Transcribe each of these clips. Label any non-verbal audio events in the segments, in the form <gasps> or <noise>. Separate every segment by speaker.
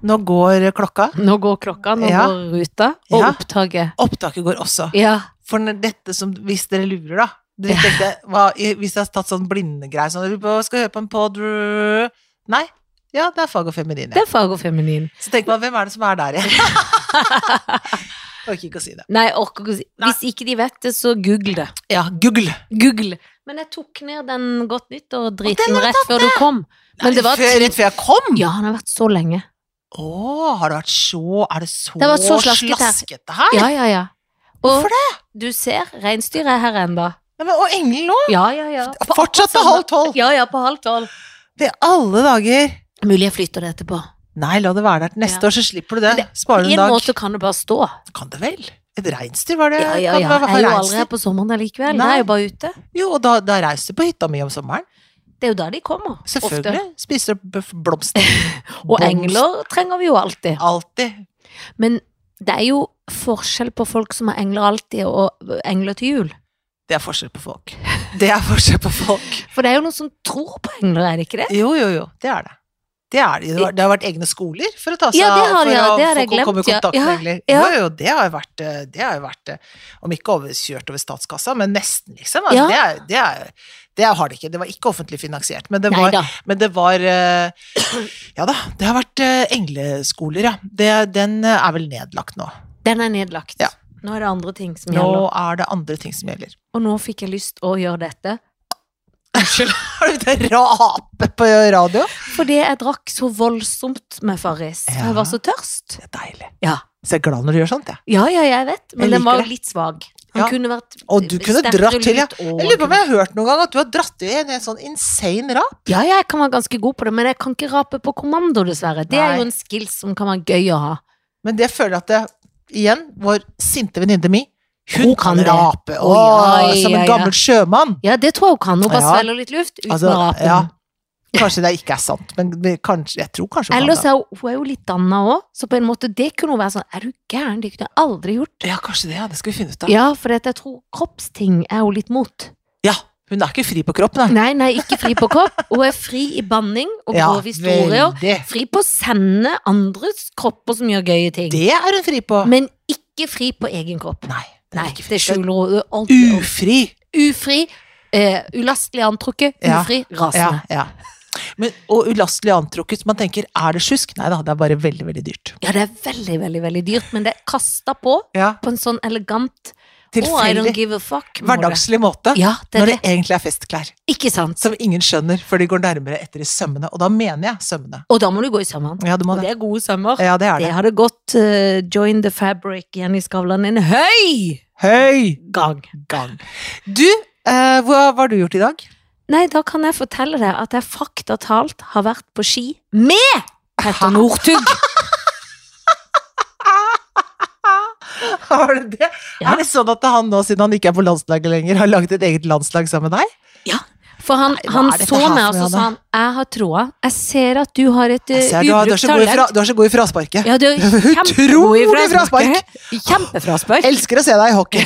Speaker 1: Nå går klokka.
Speaker 2: Nå går klokka, nå
Speaker 1: Ja.
Speaker 2: går ruta, og
Speaker 1: Ja.
Speaker 2: opptaket.
Speaker 1: Opptaket går også.
Speaker 2: Ja.
Speaker 1: For når dette som Hvis dere lurer, da. Dere tenkte, hva, i- hvis jeg har tatt sånn blindegreier sånn «Vi på- Skal høre på en pod Nei. Ja, det er fag og feminin.
Speaker 2: Det
Speaker 1: Ja.
Speaker 2: er fag og feminin.
Speaker 1: Så tenk meg, hvem er det som er der
Speaker 2: <laughs>
Speaker 1: igjen? Orker ikke å si det.
Speaker 2: Nei, jeg orker ikke å si
Speaker 1: Nei.
Speaker 2: Hvis ikke de vet det, så google det.
Speaker 1: Ja, Google.
Speaker 2: Google. Men jeg tok ned den Godt nytt og driten
Speaker 1: har du
Speaker 2: rett før du kom. Men det var
Speaker 1: Nei, før, rett før jeg kom?
Speaker 2: Ja, den har vært så lenge.
Speaker 1: Å, har det vært så Er det så,
Speaker 2: Det har vært så slasket her.
Speaker 1: slaskete her?
Speaker 2: Ja, ja, ja.
Speaker 1: Hvorfor
Speaker 2: det? Du ser, reinsdyret er her ennå.
Speaker 1: Nei, men, og engelen nå?
Speaker 2: Ja, ja, ja.
Speaker 1: Fortsatt til halv tolv!
Speaker 2: Ja, ja, på halv tolv.
Speaker 1: Det er alle dager.
Speaker 2: Mulig jeg flytter det etterpå.
Speaker 1: Nei, la det være der til neste
Speaker 2: Ja.
Speaker 1: år, så slipper du det.
Speaker 2: Men det- På
Speaker 1: Sparer du en
Speaker 2: en
Speaker 1: dag.
Speaker 2: måte kan det bare stå.
Speaker 1: Kan det vel? Et reinsdyr, var det?
Speaker 2: Ja, ja,
Speaker 1: kan
Speaker 2: ja.
Speaker 1: det være
Speaker 2: Jeg er jo aldri
Speaker 1: reinsdyr?
Speaker 2: her på sommeren allikevel.
Speaker 1: Nei.
Speaker 2: Jeg er jo bare ute.
Speaker 1: Jo, og da, da reiser du på hytta mi om sommeren.
Speaker 2: Det er jo da de kommer.
Speaker 1: Selvfølgelig. Spiser opp bøff- blomster.
Speaker 2: Ofte. <laughs> Og engler trenger vi jo alltid.
Speaker 1: Alltid.
Speaker 2: Men det er jo forskjell på folk som har engler alltid, og engler til jul.
Speaker 1: Det er forskjell på folk. Det er forskjell på
Speaker 2: <laughs>
Speaker 1: folk.
Speaker 2: For det er jo noen som tror på engler, er det ikke det?
Speaker 1: Jo, jo, jo. Det er det. Det, er det. Det, har, det har vært egne skoler for å ta seg
Speaker 2: Ja, det har
Speaker 1: for
Speaker 2: det, ja.
Speaker 1: å
Speaker 2: Det har
Speaker 1: få
Speaker 2: jeg glemt,
Speaker 1: komme i
Speaker 2: ja.
Speaker 1: kontakt med
Speaker 2: Ja,
Speaker 1: engler.
Speaker 2: ja.
Speaker 1: Jo, jo, det har jo vært, eh, det har jo vært eh, Om ikke overkjørt over statskassa, men nesten, liksom. Altså,
Speaker 2: Ja.
Speaker 1: det, er, det, er, det har det ikke. Det var ikke offentlig finansiert, men det
Speaker 2: Nei
Speaker 1: var
Speaker 2: da.
Speaker 1: Men det var eh, Ja da, det har vært eh, engleskoler, ja. Det, den eh, er vel nedlagt nå.
Speaker 2: Den er nedlagt.
Speaker 1: Ja.
Speaker 2: Nå er det andre ting som
Speaker 1: Nå
Speaker 2: gjelder.
Speaker 1: er det andre ting som gjelder.
Speaker 2: Og nå fikk jeg lyst å gjøre dette.
Speaker 1: <laughs> Har du begynt å rape på radio?
Speaker 2: Fordi jeg drakk så voldsomt med Farris.
Speaker 1: Ja.
Speaker 2: Jeg var så tørst.
Speaker 1: Det er deilig.
Speaker 2: Ja.
Speaker 1: Så jeg er glad når du gjør sånt, jeg.
Speaker 2: Ja, ja, jeg vet. Men
Speaker 1: Jeg
Speaker 2: den var
Speaker 1: liker det.
Speaker 2: litt svag.
Speaker 1: Ja.
Speaker 2: Han kunne vært
Speaker 1: Og du kunne
Speaker 2: sterkere
Speaker 1: dratt til, ja.
Speaker 2: lut, og-
Speaker 1: Jeg lurer på om jeg har hørt noen gang at du har dratt i en helt sånn insane rap.
Speaker 2: Ja, ja, jeg kan være ganske god på det, men jeg kan ikke rape på kommando, dessverre. Det
Speaker 1: Nei.
Speaker 2: er jo en skill som kan være gøy å ha.
Speaker 1: Men det føler jeg at det, igjen, vår sinte venninne mi, hun,
Speaker 2: Hun
Speaker 1: kan
Speaker 2: kan det.
Speaker 1: rape.
Speaker 2: Oi,
Speaker 1: Åh,
Speaker 2: ja,
Speaker 1: som
Speaker 2: ja,
Speaker 1: en
Speaker 2: ja.
Speaker 1: gammel sjømann.
Speaker 2: Ja, det tror jeg hun kan. Hun bare
Speaker 1: Ja.
Speaker 2: svelger litt luft uten
Speaker 1: Altså,
Speaker 2: å rape.
Speaker 1: ja. Kanskje det ikke er sant, men vi- kanskje, jeg tror kanskje hun kan
Speaker 2: Ellers
Speaker 1: det.
Speaker 2: er hun, hun er jo litt danna òg, så på en måte det kunne hun være sånn Er du gæren? Det kunne jeg aldri gjort.
Speaker 1: Ja, kanskje det. Ja, det skal vi finne ut av.
Speaker 2: Ja, for dette, jeg tror kroppsting er hun litt mot.
Speaker 1: Ja, hun er ikke fri på kropp, nei.
Speaker 2: Nei, nei, ikke fri på kropp. Hun er fri i banning og grove historier.
Speaker 1: veldig.
Speaker 2: Fri på å sende andres kropper som gjør gøye ting.
Speaker 1: Det er hun fri på.
Speaker 2: Men ikke fri på egen kropp.
Speaker 1: nei, det
Speaker 2: Nei,
Speaker 1: er ikke fri.
Speaker 2: det skjuler hun.
Speaker 1: Det
Speaker 2: ordentlig.
Speaker 1: er Ufri.
Speaker 2: Ufri, eh, ulastelig antrukket,
Speaker 1: Ja.
Speaker 2: ufri,
Speaker 1: Ja,
Speaker 2: rasende.
Speaker 1: ja. Men, og ulastelig antrukket. Man tenker, er det sjusk? Nei da, det er bare veldig, veldig dyrt.
Speaker 2: Ja. det er veldig, veldig veldig dyrt, men det er kasta på
Speaker 1: Ja,
Speaker 2: på en sånn elegant Oh, I don't
Speaker 1: Tilfeldig.
Speaker 2: give a fuck. må
Speaker 1: Hverdagslig måte.
Speaker 2: det. Ja, det
Speaker 1: Når
Speaker 2: er
Speaker 1: det
Speaker 2: det.
Speaker 1: egentlig er festklær.
Speaker 2: Ikke sant?
Speaker 1: Som ingen skjønner, for de går nærmere etter i sømmene. Og da mener jeg sømmene.
Speaker 2: Og da må du gå i sømmene.
Speaker 1: Ja, du må
Speaker 2: Og
Speaker 1: det.
Speaker 2: det er gode sømmer.
Speaker 1: Ja, det er
Speaker 2: Det
Speaker 1: det.
Speaker 2: hadde gått eh, Join the Fabric Jenny Skavlan en høy
Speaker 1: Høy
Speaker 2: gang.
Speaker 1: gang. Du, eh, hva hva har du gjort i dag?
Speaker 2: Nei, da kan jeg fortelle deg at jeg faktatalt har vært på ski med Petter Northug.
Speaker 1: <laughs> Har du det?
Speaker 2: Ja.
Speaker 1: Er det sånn at han nå, siden han ikke er på landslaget lenger, har laget et eget landslag sammen med deg?
Speaker 2: For han,
Speaker 1: Nei, hva
Speaker 2: han
Speaker 1: er dette
Speaker 2: så
Speaker 1: her
Speaker 2: meg,
Speaker 1: for
Speaker 2: altså, og
Speaker 1: noe,
Speaker 2: så sa han Jeg har troa. Jeg ser at du har et eh,
Speaker 1: Jeg ser du, har- du, er
Speaker 2: ubrukt
Speaker 1: så god i fra,
Speaker 2: talent.
Speaker 1: du er så god i frasparket.
Speaker 2: Ja,
Speaker 1: <laughs>
Speaker 2: du er kjempegod i
Speaker 1: Utrolig fraspark!
Speaker 2: fraspark. Kjempefraspark.
Speaker 1: Elsker å se deg i hockey.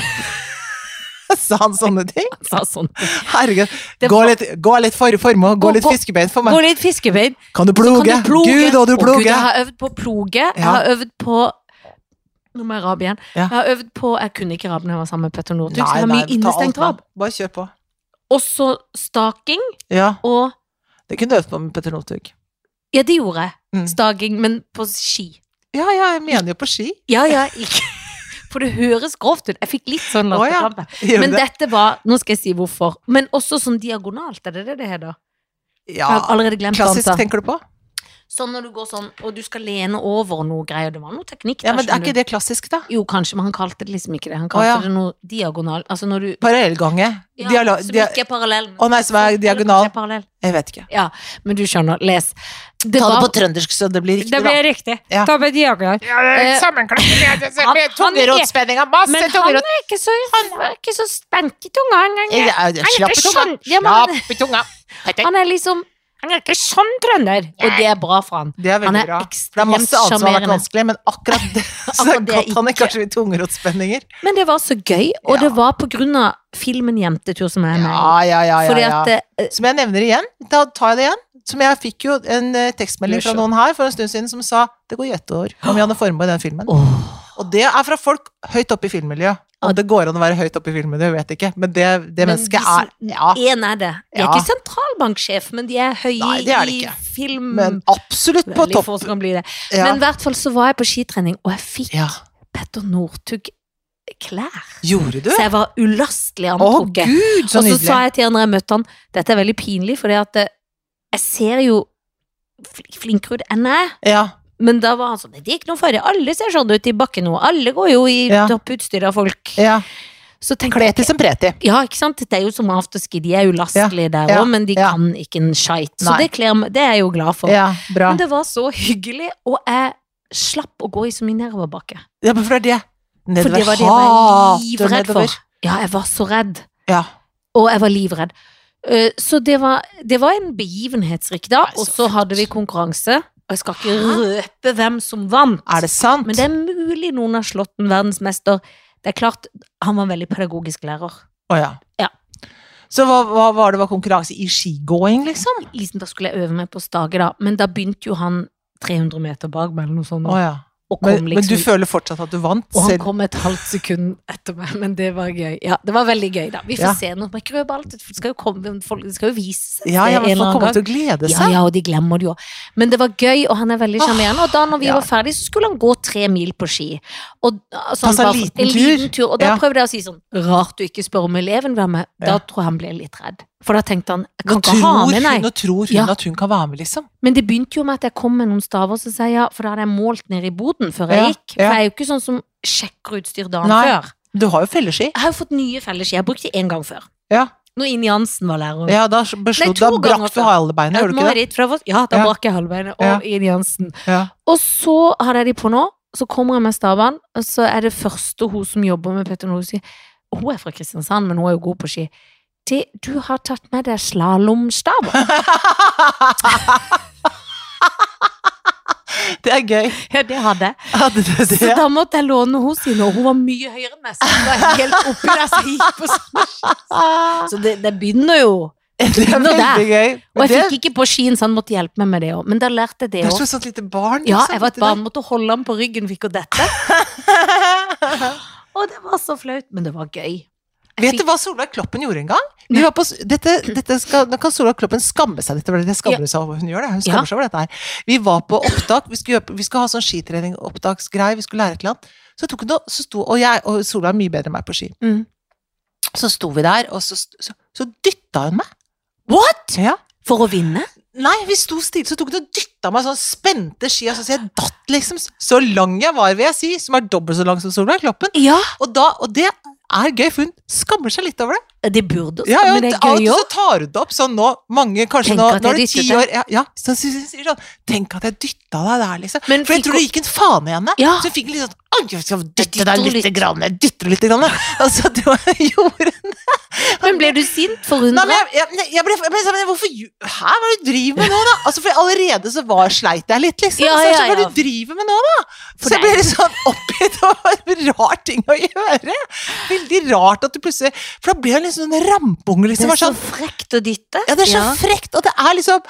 Speaker 1: <laughs> Sa han sånne ting?
Speaker 2: Han sa sånn.
Speaker 1: Herregud.
Speaker 2: Det
Speaker 1: Gå
Speaker 2: var-
Speaker 1: litt, gå litt for, formål, gå
Speaker 2: Gå-
Speaker 1: litt
Speaker 2: gå-
Speaker 1: fiskebein for
Speaker 2: Gå
Speaker 1: meg.
Speaker 2: litt fiskebein.
Speaker 1: Kan du
Speaker 2: Så
Speaker 1: ploge?
Speaker 2: kan du ploge.
Speaker 1: Gud, og du
Speaker 2: Å, Gud,
Speaker 1: ploge!
Speaker 2: jeg har øvd på å ploge. Jeg
Speaker 1: Ja.
Speaker 2: har øvd på Nå må jeg rabe igjen.
Speaker 1: Ja.
Speaker 2: Jeg har øvd på Jeg kunne ikke rabe når jeg var sammen med Petter Northug, så jeg har
Speaker 1: Nei,
Speaker 2: mye
Speaker 1: nei, ta alt,
Speaker 2: innestengt
Speaker 1: mann.
Speaker 2: rab.
Speaker 1: Bare kjør på.
Speaker 2: Også staking
Speaker 1: Ja,
Speaker 2: og
Speaker 1: det kunne du øvd på med Petter Northug.
Speaker 2: Ja, det gjorde jeg.
Speaker 1: Mm.
Speaker 2: Staking, men på ski.
Speaker 1: Ja, ja, jeg mener jo på ski.
Speaker 2: Ja, ja, ikke <laughs> For det høres grovt ut. Jeg fikk litt sånn
Speaker 1: Å, ja.
Speaker 2: latterkrampe.
Speaker 1: Gjør
Speaker 2: Men
Speaker 1: du det?
Speaker 2: dette var Nå skal jeg si hvorfor. Men også sånn diagonalt, er det det det heter? Jeg har
Speaker 1: Ja,
Speaker 2: allerede glemt
Speaker 1: klassisk,
Speaker 2: dansa.
Speaker 1: tenker du på?
Speaker 2: Sånn når du går sånn, og du skal lene over noe greier. Det var noe teknikk
Speaker 1: Ja,
Speaker 2: der,
Speaker 1: men Er
Speaker 2: skjønner
Speaker 1: ikke det klassisk, da?
Speaker 2: du. Jo, kanskje, men han kalte det liksom ikke det. Han
Speaker 1: Å,
Speaker 2: kalte
Speaker 1: ja.
Speaker 2: det noe diagonal. Altså når du
Speaker 1: Parallellgange.
Speaker 2: ja,
Speaker 1: Dialo-
Speaker 2: Som
Speaker 1: dia-
Speaker 2: ikke er parallell. men-
Speaker 1: Å nei, som er
Speaker 2: Eller kanskje
Speaker 1: diagonal.
Speaker 2: er parallell.
Speaker 1: Jeg vet ikke.
Speaker 2: Men du skjønner. Les. Det
Speaker 1: Ta det
Speaker 2: var-
Speaker 1: på trøndersk, så det blir riktig,
Speaker 2: Det
Speaker 1: da.
Speaker 2: ble riktig.
Speaker 1: Ja.
Speaker 2: Ta med diagonal. Eh, han- med han er-
Speaker 1: Masse
Speaker 2: Men han er ikke så, han er ikke så spent i tunga engang.
Speaker 1: Slapp i tunga.
Speaker 2: sånn. Ja, men han-
Speaker 1: Slapp i tunga.
Speaker 2: Han er liksom Han er ikke sånn trønder, og det er bra for han.
Speaker 1: Det er
Speaker 2: Han
Speaker 1: veldig
Speaker 2: er
Speaker 1: bra. For det er
Speaker 2: ekstremt
Speaker 1: masse annet som har vært
Speaker 2: sjarmerende.
Speaker 1: <laughs> vanskelig, men akkurat det Så det er
Speaker 2: <laughs> Akkurat det
Speaker 1: godt han er
Speaker 2: ikke.
Speaker 1: kanskje litt tungerotspenninger.
Speaker 2: Men det var så gøy, og
Speaker 1: Ja.
Speaker 2: det var på grunn av filmen Jentetur som jeg er med i.
Speaker 1: Ja, ja, ja,
Speaker 2: Fordi
Speaker 1: ja,
Speaker 2: at
Speaker 1: ja.
Speaker 2: eh,
Speaker 1: Som jeg nevner igjen, da tar jeg det igjen. Som jeg fikk jo en eh, tekstmelding fra
Speaker 2: Lursjå.
Speaker 1: noen her for en stund siden som sa det går i ett år om Janne Formoe i den filmen.
Speaker 2: Åh.
Speaker 1: Og det er fra folk høyt oppe i filmmiljøet. Om det går an å være høyt oppe i filmmiljøet, vet jeg ikke, men det, det
Speaker 2: Men
Speaker 1: mennesket
Speaker 2: de som-
Speaker 1: er Ja.
Speaker 2: En er det. De er
Speaker 1: Ah. Ja.
Speaker 2: ikke sentralbanksjef, men de er høye
Speaker 1: Nei, det er de
Speaker 2: i
Speaker 1: ikke.
Speaker 2: film...
Speaker 1: Men absolutt på
Speaker 2: Mm. Veldig
Speaker 1: topp.
Speaker 2: få som kan bli det.
Speaker 1: Ja.
Speaker 2: Men i hvert fall så var jeg på skitrening, og jeg fikk
Speaker 1: ja.
Speaker 2: Petter Northug-klær.
Speaker 1: Gjorde du?
Speaker 2: Så jeg var ulastelig
Speaker 1: Å
Speaker 2: antrukket.
Speaker 1: gud, så
Speaker 2: og så sa
Speaker 1: nydelig.
Speaker 2: jeg til han når jeg møtte han, dette er veldig pinlig, fordi at eh, jeg ser jo fl- flinkere ut enn jeg er.
Speaker 1: Ja.
Speaker 2: Men da var han sånn, det er ikke noe fare, alle ser sånn ut i bakken nå, alle går jo i
Speaker 1: Ja.
Speaker 2: topp utstyr av folk.
Speaker 1: ja.
Speaker 2: Så tenkte jeg,
Speaker 1: Kleti som preti.
Speaker 2: ja, ikke sant, det er jo som afterski, de er jo lastelige der
Speaker 1: Ja.
Speaker 2: også, men de
Speaker 1: Ja.
Speaker 2: kan ikke en skjeit. Så
Speaker 1: Nei.
Speaker 2: det, kler, meg- det er jeg jo glad for.
Speaker 1: Ja, bra.
Speaker 2: Men det var så hyggelig, og jeg slapp å gå i så mye nedoverbakke.
Speaker 1: Ja, men for det er det.
Speaker 2: For det var det jeg var
Speaker 1: Hater
Speaker 2: livredd
Speaker 1: nedover.
Speaker 2: for. Ja, jeg var så redd.
Speaker 1: Ja.
Speaker 2: Og jeg var livredd. Eh, Så det var, det var en begivenhetsrik dag,
Speaker 1: Nei, så
Speaker 2: og så
Speaker 1: flott.
Speaker 2: hadde vi konkurranse. Og jeg skal ikke
Speaker 1: Hæ?
Speaker 2: røpe hvem som vant,
Speaker 1: Er det sant?
Speaker 2: men det er mulig noen har slått en verdensmester. Det er klart, han var en veldig pedagogisk lærer.
Speaker 1: Å, ja.
Speaker 2: Ja.
Speaker 1: Så hva, hva var det var konkurranse i skigåing, liksom?
Speaker 2: Liksom, da skulle jeg øve meg på stage, da, men da begynte jo han 300 meter bak meg, eller noe sånt.
Speaker 1: Å, ja.
Speaker 2: Og kom
Speaker 1: men, men
Speaker 2: liksom
Speaker 1: du føler fortsatt at du vant?
Speaker 2: Og han
Speaker 1: selv-
Speaker 2: kom et halvt sekund etter meg, men det var gøy. Ja, det var veldig gøy, da. Vi får
Speaker 1: Ja.
Speaker 2: se nå. Man krøper alt. Det skal jo, komme, folk, det skal jo vise seg
Speaker 1: ja, ja,
Speaker 2: en
Speaker 1: men folk
Speaker 2: eller annen
Speaker 1: kommer
Speaker 2: gang.
Speaker 1: til å glede
Speaker 2: Ja,
Speaker 1: seg.
Speaker 2: ja, og de glemmer det jo. Men det var gøy, og han er veldig
Speaker 1: Åh,
Speaker 2: sjarmerende. Og da når vi
Speaker 1: ja.
Speaker 2: var ferdig, så skulle han gå tre mil på ski. Og, altså,
Speaker 1: Altså, en liten tur.
Speaker 2: Og da
Speaker 1: Ja.
Speaker 2: prøvde jeg å si sånn Rart du ikke spør om eleven hvem er. Da
Speaker 1: Ja.
Speaker 2: tror jeg han ble litt redd. For da tenkte han Jeg
Speaker 1: Nå
Speaker 2: kan ikke
Speaker 1: tror,
Speaker 2: ha med, nei.
Speaker 1: hun, nå tror hun
Speaker 2: Ja.
Speaker 1: at hun kan være med, liksom.
Speaker 2: Men det begynte jo med at jeg kom med noen staver, så sa jeg ja, for da hadde jeg målt ned i boden før jeg
Speaker 1: Ja,
Speaker 2: gikk. For
Speaker 1: ja.
Speaker 2: jeg er jo ikke sånn som sjekker utstyr dagen
Speaker 1: Nei.
Speaker 2: før.
Speaker 1: Du har jo felleski.
Speaker 2: Jeg har jo fått nye felleski. Jeg brukte én gang før.
Speaker 1: Ja.
Speaker 2: Når Ine Jansen var lærer.
Speaker 1: Ja, da, beslo,
Speaker 2: Nei, to
Speaker 1: da
Speaker 2: ganger
Speaker 1: brakk du
Speaker 2: før.
Speaker 1: halve beinet,
Speaker 2: Jeg
Speaker 1: gjorde du
Speaker 2: må
Speaker 1: ikke det?
Speaker 2: dit, for jeg var- ja, da
Speaker 1: Ja.
Speaker 2: brakk jeg halvbeinet. Og
Speaker 1: Ja.
Speaker 2: Ine Jansen.
Speaker 1: Ja.
Speaker 2: Og så hadde jeg de på nå. Så kommer jeg med stavene, og så er det første hun som jobber med Petter Northug, sier Hun er fra Kristiansand, men hun er jo god på ski. Det, du har tatt med
Speaker 1: <laughs>
Speaker 2: deg slalåmstaver.
Speaker 1: Det er gøy.
Speaker 2: <laughs> ja, det hadde jeg.
Speaker 1: Hadde du
Speaker 2: <laughs> Så
Speaker 1: det?
Speaker 2: da måtte jeg låne hos henne, og hun var mye høyere enn meg. Så hun var helt oppi der, så jeg gikk på sånn. Så det, det begynner jo.
Speaker 1: <laughs> Det er
Speaker 2: Nå der.
Speaker 1: veldig gøy.
Speaker 2: Og
Speaker 1: Men
Speaker 2: jeg
Speaker 1: det,
Speaker 2: fikk ikke på skien, så han måtte hjelpe meg med det òg. Men da lærte jeg det
Speaker 1: det er
Speaker 2: òg.
Speaker 1: som et sånt lite barn.
Speaker 2: Ja,
Speaker 1: liksom,
Speaker 2: jeg var et
Speaker 1: vet du
Speaker 2: barn, måtte holde ham på ryggen, fikk hun dette.
Speaker 1: det?
Speaker 2: Og det var så flaut, men det var gøy. <laughs> Jeg
Speaker 1: Vet
Speaker 2: fikk-
Speaker 1: du hva Solveig Kloppen gjorde en gang? Vi
Speaker 2: Nei.
Speaker 1: var på, s- dette, dette skal, nå kan Solveig Kloppen skamme seg litt over det. Det skammer hun seg over. Hun gjør det. Hun
Speaker 2: Ja.
Speaker 1: skammer seg over dette her. Vi var på opptak. Vi skulle, gjøre på- vi skulle ha sånn skitrening-opptaksgreie. Vi skulle lære et eller annet. Så tok hun det, så sto, og jeg og Solveig er mye bedre enn meg på ski.
Speaker 2: Mm.
Speaker 1: Så sto vi der, og så, så, så dytta hun meg.
Speaker 2: What?!
Speaker 1: Ja.
Speaker 2: For å vinne?
Speaker 1: Nei, vi sto stille, så tok hun og dytta meg sånn spente skia, så jeg datt liksom. Så lang jeg var, vil jeg si, som er dobbelt så lang som Solveig Kloppen.
Speaker 2: Ja,
Speaker 1: Og, da, og det er gøy, for hun skammer seg litt over det.
Speaker 2: det burde også,
Speaker 1: Ja, ja,
Speaker 2: men det er
Speaker 1: av og
Speaker 2: gøy
Speaker 1: til
Speaker 2: òg.
Speaker 1: så tar hun det opp sånn nå, mange kanskje
Speaker 2: Tenk
Speaker 1: nå,
Speaker 2: at
Speaker 1: nå er det
Speaker 2: jeg
Speaker 1: ti
Speaker 2: dyttet
Speaker 1: år ja, ja, så sier hun sånn, Tenk at jeg dytta deg der, liksom.
Speaker 2: Men
Speaker 1: For jeg
Speaker 2: fikk
Speaker 1: tror det
Speaker 2: hun-
Speaker 1: gikk en faen i henne.
Speaker 2: Ja.
Speaker 1: Så hun fikk litt sånn Oi, jeg skal dytte
Speaker 2: dytter
Speaker 1: deg lite
Speaker 2: litt.
Speaker 1: grann, jeg dytter litt grann. <laughs> Altså, det var, gjorde hun.
Speaker 2: Men ble du sint?
Speaker 1: Nei, men
Speaker 2: Forundra?
Speaker 1: jeg, jeg, jeg, ble, jeg ble sånn, men hvorfor gj- Hæ, hva er det du driver med nå, da? Altså, for allerede så var sleit jeg litt, liksom.
Speaker 2: Ja,
Speaker 1: så jeg
Speaker 2: ja,
Speaker 1: sånn, hva er
Speaker 2: ja.
Speaker 1: det du driver med nå, da?
Speaker 2: For
Speaker 1: så jeg
Speaker 2: det
Speaker 1: ble
Speaker 2: er-
Speaker 1: litt sånn oppgitt, <laughs> det var en rar ting å gjøre. Veldig rart at du plutselig For da ble hun liksom en rampunge,
Speaker 2: Det
Speaker 1: liksom.
Speaker 2: er
Speaker 1: var
Speaker 2: så
Speaker 1: sånn,
Speaker 2: frekt å dytte.
Speaker 1: Ja, det er så
Speaker 2: Ja.
Speaker 1: frekt, og det er liksom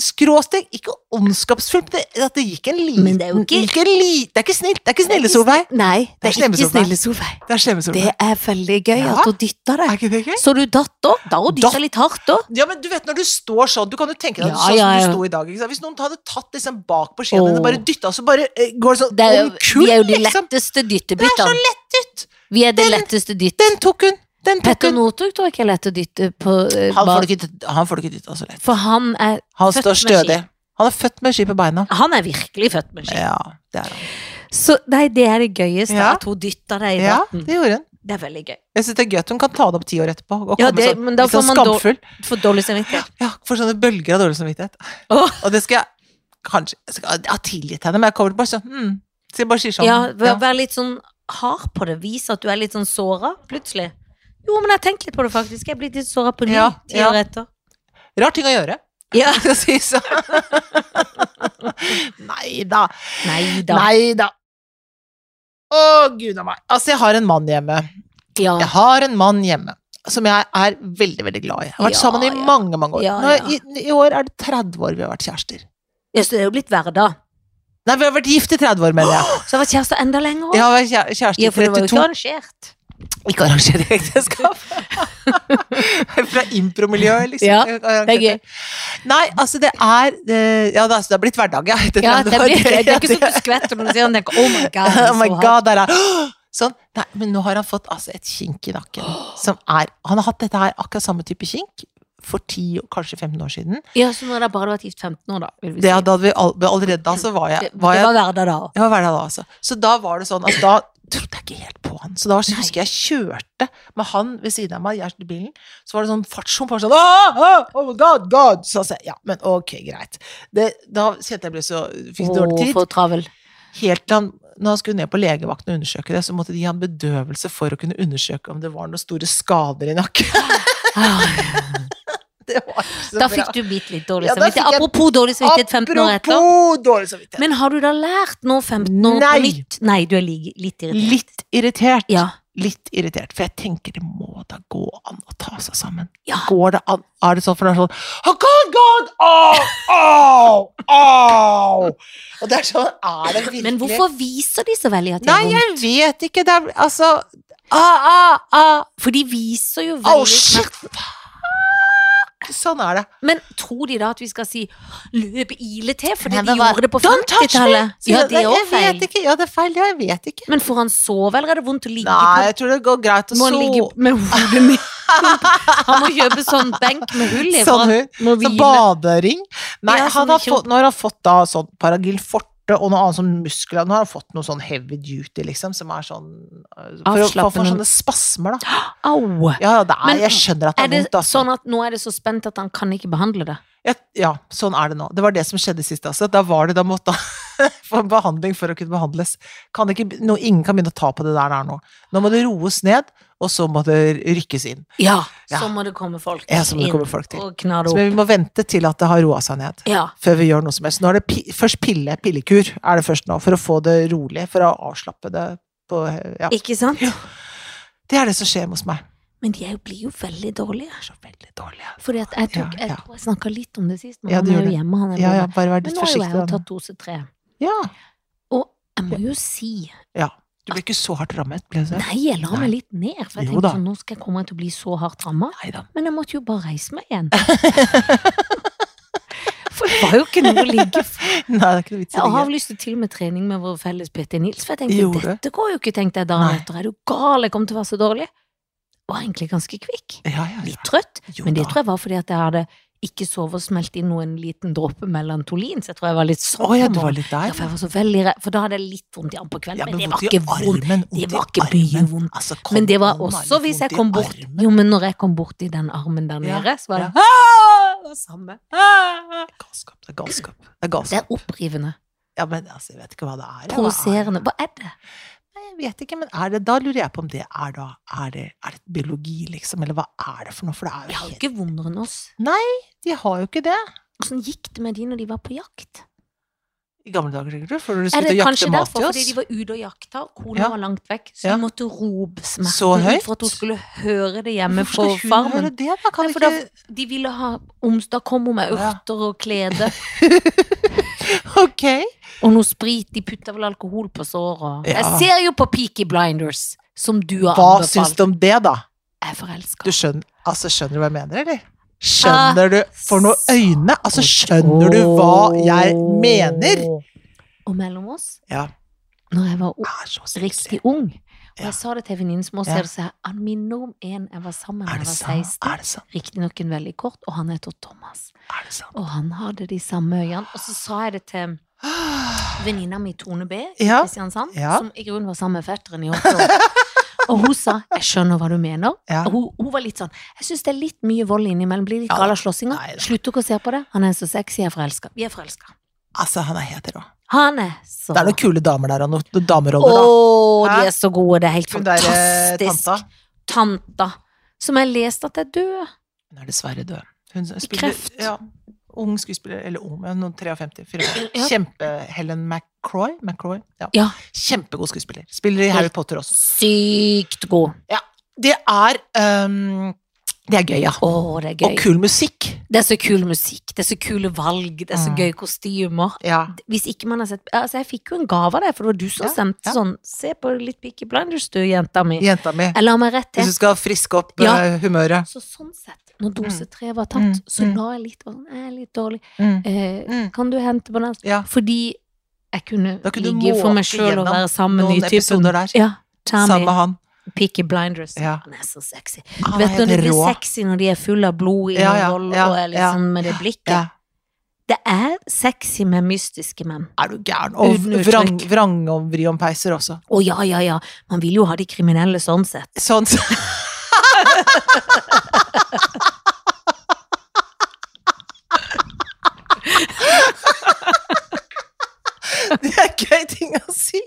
Speaker 1: Skråstrek, ikke ondskapsfullt, det, at det gikk en liten
Speaker 2: Men det er jo ikke-
Speaker 1: en li, Det er ikke snilt, det er ikke
Speaker 2: Det er
Speaker 1: snille
Speaker 2: ikke
Speaker 1: Solveig.
Speaker 2: Nei, det er
Speaker 1: slemme Solveig.
Speaker 2: ikke snille Solveig.
Speaker 1: Det er slemme Solveig.
Speaker 2: Det er veldig gøy
Speaker 1: Ja.
Speaker 2: at hun dytta
Speaker 1: Er
Speaker 2: deg.
Speaker 1: ikke det gøy?
Speaker 2: Så du datt òg? Da hun dytta
Speaker 1: Datt.
Speaker 2: litt hardt òg.
Speaker 1: Ja, men du vet når du står sånn, du kan jo tenke deg at
Speaker 2: Ja,
Speaker 1: du sånn
Speaker 2: ja,
Speaker 1: som
Speaker 2: ja.
Speaker 1: du sto i dag. Ikke sant? Hvis noen hadde tatt liksom bak på skien
Speaker 2: Åh.
Speaker 1: din og bare dytta, så bare eh, går det sånn
Speaker 2: Det er jo-
Speaker 1: omkull,
Speaker 2: Vi er jo de
Speaker 1: liksom.
Speaker 2: letteste
Speaker 1: Det er så
Speaker 2: dyttebyttene.
Speaker 1: lettet!
Speaker 2: Vi er det
Speaker 1: Den-
Speaker 2: letteste dyttet.
Speaker 1: Den tok hun! Den tok
Speaker 2: Petter
Speaker 1: hun.
Speaker 2: Northug tror jeg ikke er lett å dytte på. eh,
Speaker 1: Han
Speaker 2: bak-
Speaker 1: får det ikke, han får det ikke dytta så lett.
Speaker 2: For han er
Speaker 1: Han
Speaker 2: Født
Speaker 1: står
Speaker 2: med ski.
Speaker 1: stødig. Han er født med ski på beina.
Speaker 2: Han er virkelig født med ski.
Speaker 1: Ja, det er han.
Speaker 2: Så nei, det er det gøyeste,
Speaker 1: Ja.
Speaker 2: at hun dytter deg i
Speaker 1: Ja,
Speaker 2: datten.
Speaker 1: det gjorde hun.
Speaker 2: Det er veldig gøy.
Speaker 1: Jeg synes det er gøy at hun kan ta det opp ti år etterpå. Og
Speaker 2: Ja,
Speaker 1: komme
Speaker 2: det-
Speaker 1: sånn,
Speaker 2: men da
Speaker 1: litt sånn
Speaker 2: får man da-
Speaker 1: skamfull.
Speaker 2: For dårlig samvittighet.
Speaker 1: Ja, for sånne bølger av dårlig samvittighet.
Speaker 2: Åh.
Speaker 1: Og det skal jeg kanskje jeg skal, Jeg har tilgitt henne, men jeg kommer bare sånn hmm. Så jeg bare sier sånn.
Speaker 2: Ja,
Speaker 1: ja.
Speaker 2: vær, vær litt sånn hard på det. Vis at du er litt sånn såra, plutselig. Jo, men jeg har tenkt litt på det, faktisk. Jeg er blitt litt såra på ny
Speaker 1: Ja,
Speaker 2: ti
Speaker 1: ja.
Speaker 2: år etter.
Speaker 1: Rar ting å gjøre.
Speaker 2: Ja.
Speaker 1: <laughs> Skal jeg si sånn. så. <laughs> Nei da.
Speaker 2: Nei da.
Speaker 1: Nei da. Å, gud a meg. Altså, jeg har en mann hjemme.
Speaker 2: Ja.
Speaker 1: Jeg har en mann hjemme. som jeg er veldig veldig glad i. Jeg har vært
Speaker 2: Ja,
Speaker 1: sammen i
Speaker 2: ja.
Speaker 1: mange mange år.
Speaker 2: Ja,
Speaker 1: Nå,
Speaker 2: ja.
Speaker 1: i, I år er det 30 år vi har vært kjærester.
Speaker 2: Ja, så det er jo blitt hverdag.
Speaker 1: Nei, vi har vært gift i 30 år, mener jeg.
Speaker 2: Så det var kjærester enda lenger
Speaker 1: Jeg
Speaker 2: også.
Speaker 1: har vært kjæ- kjæreste
Speaker 2: Ja,
Speaker 1: i
Speaker 2: for det var jo
Speaker 1: 32
Speaker 2: ikke arrangert.
Speaker 1: Ikke arrangere ekteskap.
Speaker 2: <laughs>
Speaker 1: Fra impromiljø, liksom.
Speaker 2: Ja, det er gøy.
Speaker 1: Nei, altså det er eh, Ja, det er- det har blitt hverdag, ja. <laughs> etter
Speaker 2: <laughs> Ja,
Speaker 1: 30
Speaker 2: det,
Speaker 1: år.
Speaker 2: blir, det er ikke sånn at du skvetter når du sier han tenker, oh my
Speaker 1: <laughs>
Speaker 2: god,
Speaker 1: Oh my
Speaker 2: så hardt.
Speaker 1: god, der er <gasps> Sånn. Nei, men nå har han fått altså et kink i nakken.
Speaker 2: <gasps>
Speaker 1: Som er Han har hatt dette her akkurat samme type kink for 10, kanskje 15 år siden.
Speaker 2: Ja, så nå har dere bare vært gift 15 år da, vil vi si.
Speaker 1: Det hadde vi all, allerede da, så var
Speaker 2: det,
Speaker 1: jeg,
Speaker 2: det
Speaker 1: var jeg
Speaker 2: var hverdag da.
Speaker 1: Ja, hva er det da, altså? Så da var det sånn at da trodde jeg ikke helt på han. Så da
Speaker 2: Nei.
Speaker 1: husker jeg kjørte med han ved siden av meg, jeg i bilen, så var det sånn fartshump, bare sånn «Ah, ah, Oh, God, God! Så sa jeg ja, men ok, greit. Det, da kjente jeg ble så Fikk dårlig
Speaker 2: Åh,
Speaker 1: tid.
Speaker 2: for
Speaker 1: <laughs>
Speaker 2: travel.
Speaker 1: Helt til han når han skulle ned på legevakten og undersøke det, så måtte de gi han bedøvelse for å kunne undersøke om det var noen store skader i nakken. <laughs>
Speaker 2: Ah,
Speaker 1: Det var ikke så
Speaker 2: da
Speaker 1: bra.
Speaker 2: fikk du bitt litt dårlig
Speaker 1: Ja, da
Speaker 2: samvittighet.
Speaker 1: fikk jeg-
Speaker 2: Apropos dårlig samvittighet 15 år etter.
Speaker 1: Apropos dårlig samvittighet.
Speaker 2: Men har du da lært nå 15 år
Speaker 1: Nei.
Speaker 2: på nytt? Nei, du er li litt irritert.
Speaker 1: Litt irritert.
Speaker 2: Ja.
Speaker 1: litt irritert, for jeg tenker det må da gå an å ta seg sammen.
Speaker 2: Ja.
Speaker 1: Går det an? Er det sånn, for det er sånn oh, God, God! Au! Au! Au! Og det er sånn, er det virkelig
Speaker 2: Men hvorfor viser de så veldig at de
Speaker 1: Nei,
Speaker 2: har
Speaker 1: jeg
Speaker 2: vondt?
Speaker 1: vet ikke. Det er altså ah, ah, ah.
Speaker 2: For de viser jo
Speaker 1: Au,
Speaker 2: veldig
Speaker 1: shit!
Speaker 2: smerte.
Speaker 1: Fuck! Sånn er det.
Speaker 2: Men tror de da at vi skal si 'løp ile til', fordi
Speaker 1: Nei,
Speaker 2: de
Speaker 1: men hva-
Speaker 2: gjorde det på
Speaker 1: Don't touch
Speaker 2: 50-tallet?
Speaker 1: Sier
Speaker 2: Ja,
Speaker 1: jeg,
Speaker 2: det er
Speaker 1: nei,
Speaker 2: òg
Speaker 1: Jeg
Speaker 2: feil.
Speaker 1: vet ikke. Ja, det er feil. Ja, jeg vet ikke.
Speaker 2: Men får han sove, eller er det vondt å ligge
Speaker 1: Nei, jeg tror det går greit å
Speaker 2: på? Må han ligge
Speaker 1: sove.
Speaker 2: med <laughs> hodet mitt? Han må kjøpe sånn benk med hull i, for
Speaker 1: Sånn
Speaker 2: han
Speaker 1: hun.
Speaker 2: må
Speaker 1: Så
Speaker 2: hvile.
Speaker 1: badering Nei,
Speaker 2: Ja, sånn
Speaker 1: han har
Speaker 2: kjole.
Speaker 1: fått, nå har han fått da sånn Paragil Forte og noe annet sånn muskler. Nå har han fått noe sånn heavy duty, liksom, som er sånn øh, For å for å få
Speaker 2: Avslappende.
Speaker 1: sånne spasmer, da.
Speaker 2: Au!
Speaker 1: Ja, ja, det er,
Speaker 2: Men
Speaker 1: jeg skjønner at det
Speaker 2: Er
Speaker 1: er
Speaker 2: det
Speaker 1: vondt, altså.
Speaker 2: sånn at nå er det så spent at han kan ikke behandle det?
Speaker 1: Ja, ja, sånn er det nå. Det var det som skjedde sist, altså. Da var det da måtte han <laughs> få behandling for å kunne behandles. Kan ikke, nå, ingen kan begynne å ta på det der det er nå. Nå må det roes ned, og så må det rykkes inn.
Speaker 2: Ja.
Speaker 1: Ja.
Speaker 2: Så må det komme folk
Speaker 1: Ja, så må det
Speaker 2: inn
Speaker 1: komme folk til.
Speaker 2: og kna
Speaker 1: Så
Speaker 2: det opp.
Speaker 1: vi må vente til at det har roa seg ned.
Speaker 2: Ja.
Speaker 1: før vi gjør noe som helst. Nå er det pi først pille, pillekur er det først nå, for å få det rolig, for å avslappe det på Ja.
Speaker 2: Ikke sant?
Speaker 1: Det er det som skjer hos meg.
Speaker 2: Men de er jo, blir jo veldig dårlige.
Speaker 1: Jeg er så veldig dårlig. jeg.
Speaker 2: Fordi at jeg, tok,
Speaker 1: Ja,
Speaker 2: jeg
Speaker 1: ja.
Speaker 2: tror jeg snakka litt om det sist, men
Speaker 1: Ja,
Speaker 2: han
Speaker 1: du
Speaker 2: er
Speaker 1: gjorde
Speaker 2: jo hjemme. Han er
Speaker 1: Ja,
Speaker 2: bare-
Speaker 1: ja, bare vær
Speaker 2: Mm. Men
Speaker 1: litt
Speaker 2: nå har jo jeg
Speaker 1: forsiktig.
Speaker 2: jo
Speaker 1: da.
Speaker 2: tatt dose tre.
Speaker 1: Ja.
Speaker 2: Jeg må jo si
Speaker 1: Du ble ikke så hardt rammet, ble du det?
Speaker 2: Nei, jeg la meg litt ned, for jeg
Speaker 1: Jo
Speaker 2: tenkte
Speaker 1: da.
Speaker 2: sånn, nå skal jeg komme til å bli så hardt ramma.
Speaker 1: Nei da.
Speaker 2: Men jeg måtte jo bare reise meg igjen. <laughs> For det var jo ikke noe å ligge for.
Speaker 1: Nei, det er ikke noe vits i
Speaker 2: Jeg
Speaker 1: det.
Speaker 2: avlyste til og med trening med vår felles Petter Nils, for jeg tenkte
Speaker 1: Gjorde du?
Speaker 2: dette går jo ikke, tenkte jeg dagen
Speaker 1: Nei.
Speaker 2: etter. Er du gal, jeg kommer til å være så dårlig. Var egentlig ganske kvikk.
Speaker 1: Ja, ja,
Speaker 2: Litt
Speaker 1: ja.
Speaker 2: trøtt,
Speaker 1: Jo
Speaker 2: men det
Speaker 1: da.
Speaker 2: tror jeg var fordi at jeg hadde ikke sovet og smelt inn noen liten dråpe melantolin, så jeg tror jeg var litt sånn.
Speaker 1: Å ja,
Speaker 2: på
Speaker 1: du var
Speaker 2: morgenen.
Speaker 1: litt
Speaker 2: Ja,
Speaker 1: der.
Speaker 2: for jeg var så veldig redd, for da hadde jeg litt vondt i armen på kvelden,
Speaker 1: Ja,
Speaker 2: men, det
Speaker 1: vondt
Speaker 2: var
Speaker 1: i
Speaker 2: ikke vondt.
Speaker 1: armen,
Speaker 2: Det
Speaker 1: vondt i
Speaker 2: var ikke mye
Speaker 1: armen.
Speaker 2: vondt.
Speaker 1: Altså,
Speaker 2: Men det var
Speaker 1: kom an,
Speaker 2: også
Speaker 1: litt
Speaker 2: hvis jeg
Speaker 1: vondt i
Speaker 2: kom bort
Speaker 1: armen.
Speaker 2: Jo, men når jeg kom bort i den armen der
Speaker 1: Ja,
Speaker 2: nede, så var
Speaker 1: ja.
Speaker 2: det «Ah, det var samme. Ah, ah».
Speaker 1: Galskap. Det er galskap. Det er
Speaker 2: Det
Speaker 1: galskap.
Speaker 2: er opprivende.
Speaker 1: Ja, men altså, jeg vet ikke hva det er. ja. Hva er det?
Speaker 2: Provoserende. Hva er det?
Speaker 1: Nei, Jeg vet ikke, men er det, da lurer jeg på om det er da Er det, er det biologi, liksom? Eller hva er det for noe? For det er
Speaker 2: De
Speaker 1: jo
Speaker 2: har jo
Speaker 1: helt
Speaker 2: ikke vondere enn oss.
Speaker 1: De har jo ikke det.
Speaker 2: Åssen gikk det med de når de var på jakt?
Speaker 1: I gamle dager, sikkert, du, før du
Speaker 2: Er
Speaker 1: skulle
Speaker 2: det
Speaker 1: ut og
Speaker 2: kanskje
Speaker 1: jakte mat
Speaker 2: derfor?
Speaker 1: til
Speaker 2: Fordi
Speaker 1: oss.
Speaker 2: de var ute og jakta, og kona
Speaker 1: Ja.
Speaker 2: var langt vekk, så
Speaker 1: Ja.
Speaker 2: hun måtte rope
Speaker 1: Så
Speaker 2: smerten
Speaker 1: høyt?
Speaker 2: ut for at hun skulle høre det hjemme
Speaker 1: Hvorfor skal
Speaker 2: på
Speaker 1: hun
Speaker 2: farmen.
Speaker 1: Høre det, da? Kan
Speaker 2: Nei, for
Speaker 1: ikke...
Speaker 2: De ville ha oms, da kom hun med
Speaker 1: Ja.
Speaker 2: urter og klede
Speaker 1: Ok.
Speaker 2: og noe sprit. De putta vel alkohol på såret.
Speaker 1: Ja.
Speaker 2: Jeg ser jo på Peaky Blinders, som du har
Speaker 1: Hva syns
Speaker 2: anbefalt.
Speaker 1: du om det, da?
Speaker 2: Jeg er
Speaker 1: Du
Speaker 2: forelska.
Speaker 1: skjønner, altså, skjønner du hva jeg mener, eller? Skjønner
Speaker 2: Ah,
Speaker 1: du For noen
Speaker 2: så
Speaker 1: øyne! Altså, skjønner du hva jeg mener?
Speaker 2: Og mellom oss,
Speaker 1: Ja.
Speaker 2: når jeg var o-
Speaker 1: Det er så sexy.
Speaker 2: riktig ung, og
Speaker 1: Ja.
Speaker 2: jeg sa det til venninnen som også
Speaker 1: Ja.
Speaker 2: er det sånn, han minner om en jeg var sammen med
Speaker 1: Er
Speaker 2: da
Speaker 1: det
Speaker 2: jeg var
Speaker 1: sant?
Speaker 2: 16.
Speaker 1: Er det sant?
Speaker 2: Riktignok en veldig kort, og han heter Thomas.
Speaker 1: Er det sant?
Speaker 2: Og han hadde de samme øynene. Og så sa jeg det til venninna mi Tone B i
Speaker 1: Ah. Ja.
Speaker 2: Kristiansand,
Speaker 1: Ja.
Speaker 2: som i grunnen var sammen med fetteren i åtte
Speaker 1: <laughs>
Speaker 2: år. Og hun sa 'jeg skjønner hva du mener'.
Speaker 1: Ja.
Speaker 2: Og hun, hun var litt sånn 'jeg syns det er litt mye vold innimellom', blir litt
Speaker 1: Ja,
Speaker 2: gal av slåssinga.
Speaker 1: nei da.
Speaker 2: Slutt dere å se på det. Han er så sexy, jeg er forelska. Vi er forelska.
Speaker 1: Altså, han er helt rå.
Speaker 2: Han er så
Speaker 1: Det er noen kule damer der, og noen dameroller, da.
Speaker 2: Å,
Speaker 1: Hæ?
Speaker 2: de er så gode. Det er helt
Speaker 1: Hun der eh,
Speaker 2: fantastisk.
Speaker 1: tanta.
Speaker 2: Tanta. Som jeg leste at er død.
Speaker 1: Hun er dessverre død. Hun spiller,
Speaker 2: kreft.
Speaker 1: Ja, ung skuespiller, eller ung, men noen 53 54.
Speaker 2: <clears throat> Ja.
Speaker 1: Kjempe-Helen McCroy. McCroy ja.
Speaker 2: Ja.
Speaker 1: Kjempegod skuespiller. Spiller i Harry Potter også.
Speaker 2: Sykt god.
Speaker 1: Ja. det er ehm, Det er gøy, ja.
Speaker 2: Å, det er gøy.
Speaker 1: Og kul musikk.
Speaker 2: Det er så kul musikk, det er så kule valg, det er så
Speaker 1: Mm.
Speaker 2: gøy kostymer.
Speaker 1: Ja.
Speaker 2: Hvis ikke man har sett Altså, jeg fikk jo en gave av deg, for det var du som
Speaker 1: Ja,
Speaker 2: sendte
Speaker 1: ja.
Speaker 2: sånn Se på litt Peaky Blinders, du, jenta mi.
Speaker 1: Jenta mi.
Speaker 2: Jeg la meg rett til.
Speaker 1: Hvis du skal friske opp
Speaker 2: Ja.
Speaker 1: eh, humøret.
Speaker 2: Så sånn sett, når dose
Speaker 1: Mm.
Speaker 2: tre var tatt,
Speaker 1: Mm,
Speaker 2: så
Speaker 1: mm.
Speaker 2: la jeg litt og sånn, jeg er litt dårlig.
Speaker 1: Mm.
Speaker 2: Eh,
Speaker 1: Mm.
Speaker 2: kan du hente på den?
Speaker 1: Ja.
Speaker 2: Fordi jeg kunne,
Speaker 1: Da kunne du
Speaker 2: ligge for meg
Speaker 1: måke
Speaker 2: sjøl og
Speaker 1: gjennom
Speaker 2: være sammen med
Speaker 1: noen
Speaker 2: nytypen.
Speaker 1: episoder der.
Speaker 2: Ja,
Speaker 1: Sammen
Speaker 2: Tammy,
Speaker 1: med han.
Speaker 2: Peaky Blinders.
Speaker 1: Ja.
Speaker 2: Han er så sexy.
Speaker 1: Han er
Speaker 2: Vet du
Speaker 1: helt
Speaker 2: når de blir
Speaker 1: rå.
Speaker 2: sexy når de er fulle av blod i
Speaker 1: Ja, ja,
Speaker 2: vold
Speaker 1: ja,
Speaker 2: og er liksom med det blikket?
Speaker 1: Ja.
Speaker 2: Det er sexy med mystiske menn.
Speaker 1: Er du gæren? Og
Speaker 2: Uten uttrykk.
Speaker 1: vrang, vrang og vri om peiser også.
Speaker 2: Å ja, ja, ja. Man vil jo ha de kriminelle sånn sett.
Speaker 1: Sånn. Det er gøy ting å si!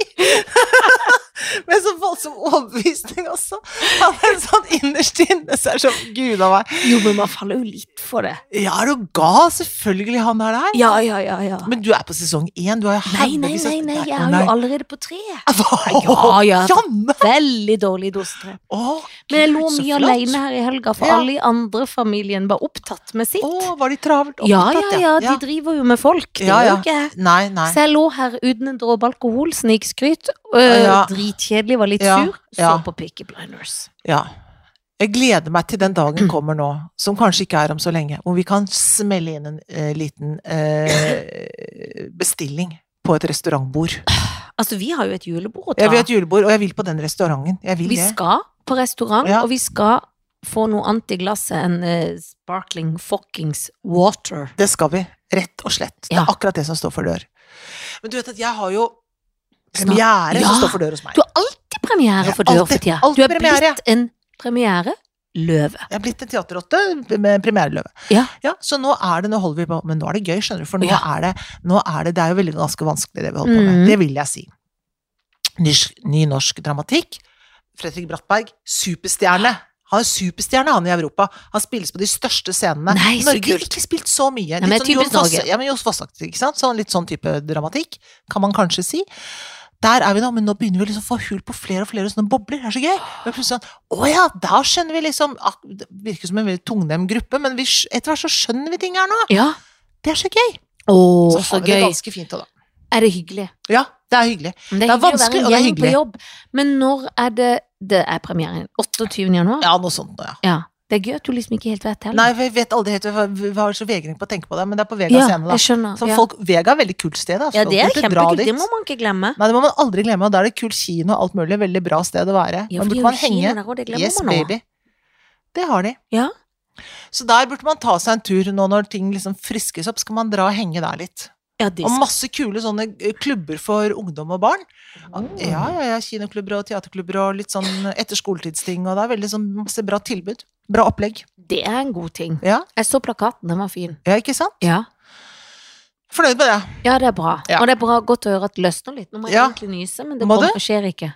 Speaker 1: Med så voldsom overbevisning også. Han er sånn innerst inne, så er det sånn Gud a meg.
Speaker 2: Jo, men man faller jo litt for det.
Speaker 1: Ja, er du gal? Selvfølgelig han er der.
Speaker 2: Ja, ja, ja, ja.
Speaker 1: Men du er på sesong én. Du er jo
Speaker 2: Nei, nei,
Speaker 1: haugevis av-
Speaker 2: nei, nei, jeg
Speaker 1: å,
Speaker 2: er
Speaker 1: nei.
Speaker 2: jo allerede på tre.
Speaker 1: Hva?
Speaker 2: Ja, ja.
Speaker 1: Janne!
Speaker 2: Veldig dårlig dosetre.
Speaker 1: Å,
Speaker 2: Men jeg lå
Speaker 1: Gud, så
Speaker 2: mye
Speaker 1: flott.
Speaker 2: alene her i helga, for
Speaker 1: Ja.
Speaker 2: alle i andre familien var opptatt med sitt.
Speaker 1: Å, var de travelt
Speaker 2: ja,
Speaker 1: opptatt?
Speaker 2: ja, ja, de driver jo med folk, det
Speaker 1: Ja,
Speaker 2: gjør
Speaker 1: ja.
Speaker 2: jo ikke jeg.
Speaker 1: Nei, nei.
Speaker 2: Så jeg lå her uten en dråpe alkohol, snikskryt, øh,
Speaker 1: Ja.
Speaker 2: dritkjedelig, var litt
Speaker 1: Ja,
Speaker 2: sur, så
Speaker 1: ja.
Speaker 2: på Peaky Blinders.
Speaker 1: Ja. Jeg gleder meg til den dagen kommer nå, som kanskje ikke er om så lenge, hvor vi kan smelle inn en eh, liten eh, bestilling på et restaurantbord.
Speaker 2: Altså, vi har jo et julebord å ta.
Speaker 1: Jeg vil ha et julebord, og jeg vil på den restauranten. Jeg vil
Speaker 2: Vi
Speaker 1: det.
Speaker 2: skal på restaurant,
Speaker 1: Ja.
Speaker 2: og vi skal få noe annet i glasset enn eh, sparkling fuckings water.
Speaker 1: Det skal vi. Rett og slett. Det
Speaker 2: Ja.
Speaker 1: er akkurat det som står for dør. Men du vet at jeg har jo
Speaker 2: Snart-
Speaker 1: premiere
Speaker 2: Ja.
Speaker 1: som står for dør hos meg.
Speaker 2: Du har alltid premiere
Speaker 1: Jeg
Speaker 2: for dør
Speaker 1: alltid-
Speaker 2: for tida.
Speaker 1: alltid
Speaker 2: Du er
Speaker 1: premiere.
Speaker 2: blitt en premiereløve.
Speaker 1: Jeg er blitt en teaterrotte med premiereløve.
Speaker 2: Ja.
Speaker 1: så nå er det, nå holder vi på, men nå er det gøy, skjønner du, for nå
Speaker 2: Ja.
Speaker 1: er det, nå er det, det er jo veldig ganske vanskelig det vi holder på med.
Speaker 2: Mm.
Speaker 1: Det vil jeg si. Ny, ny norsk dramatikk. Fredrik Brattberg, superstjerne. Han er superstjerne, han i Europa. Han spilles på de største scenene.
Speaker 2: Nei, så
Speaker 1: Norge har
Speaker 2: kult.
Speaker 1: ikke spilt så mye.
Speaker 2: men
Speaker 1: Litt sånn
Speaker 2: typisk
Speaker 1: Jon Fosse,
Speaker 2: Norge.
Speaker 1: ja, men Johs Fosse-aktig, ikke sant? Sånn, litt sånn type dramatikk, kan man kanskje si. Der er vi nå, men nå begynner vi liksom å få hull på flere og flere sånne bobler. Det er så gøy. Og plutselig sånn, å ja, da skjønner vi liksom ak- Det virker som en veldig tungnem gruppe, men vi, skj- etter hvert så skjønner vi ting her nå.
Speaker 2: Ja.
Speaker 1: Det er så gøy.
Speaker 2: Å,
Speaker 1: Så har
Speaker 2: så,
Speaker 1: vi Ah. det
Speaker 2: gøy.
Speaker 1: ganske fint òg, da.
Speaker 2: Er det hyggelig?
Speaker 1: Ja, det er hyggelig.
Speaker 2: Men det
Speaker 1: Det
Speaker 2: er,
Speaker 1: er
Speaker 2: hyggelig
Speaker 1: vanskelig, og det
Speaker 2: å være
Speaker 1: er
Speaker 2: en gjeng på
Speaker 1: hyggelig.
Speaker 2: jobb. Men når er det Det er premieren. 28. januar?
Speaker 1: Ja, noe sånt nå, ja.
Speaker 2: Ja. Det er gøy at du liksom ikke helt vet
Speaker 1: Nei,
Speaker 2: heller.
Speaker 1: vi vet aldri helt Vi vi har så vegring på å tenke på det, men det er på Vega
Speaker 2: ja,
Speaker 1: scene, da.
Speaker 2: jeg skjønner.
Speaker 1: Som
Speaker 2: ja.
Speaker 1: folk, Vega er et veldig kult sted. altså. Da.
Speaker 2: ja,
Speaker 1: Folk
Speaker 2: det er
Speaker 1: burde dra
Speaker 2: kjempekult.
Speaker 1: dit.
Speaker 2: Det må man ikke glemme.
Speaker 1: Nei, det må man aldri glemme, og da er det kult kino og alt mulig. Veldig bra sted å være.
Speaker 2: Ja,
Speaker 1: Da
Speaker 2: for
Speaker 1: burde
Speaker 2: de har
Speaker 1: man
Speaker 2: jo kino
Speaker 1: henge.
Speaker 2: der òg, det glemmer
Speaker 1: Yes,
Speaker 2: man nå.
Speaker 1: baby. Det har de.
Speaker 2: Ja.
Speaker 1: Så der burde man ta seg en tur nå når ting liksom friskes opp. Skal man dra og henge der litt.
Speaker 2: Ja, det
Speaker 1: Og
Speaker 2: skal-
Speaker 1: masse kule sånne eh, klubber for ungdom og barn.
Speaker 2: Mm.
Speaker 1: Ja, ja, ja. Kinoklubber og teaterklubber og litt sånn etterskoletidsting. Og det er veldig sånn masse bra tilbud. Bra opplegg.
Speaker 2: Det er en god ting.
Speaker 1: Ja.
Speaker 2: Jeg så plakaten, den var fin.
Speaker 1: Ja, ikke sant?
Speaker 2: Ja,
Speaker 1: Fornøyd med det.
Speaker 2: ja det er bra.
Speaker 1: Ja.
Speaker 2: Og det er bra godt å høre at det løsner litt. Nå må jeg
Speaker 1: Ja.
Speaker 2: egentlig nyse, men det
Speaker 1: Må
Speaker 2: kommer, skjer ikke.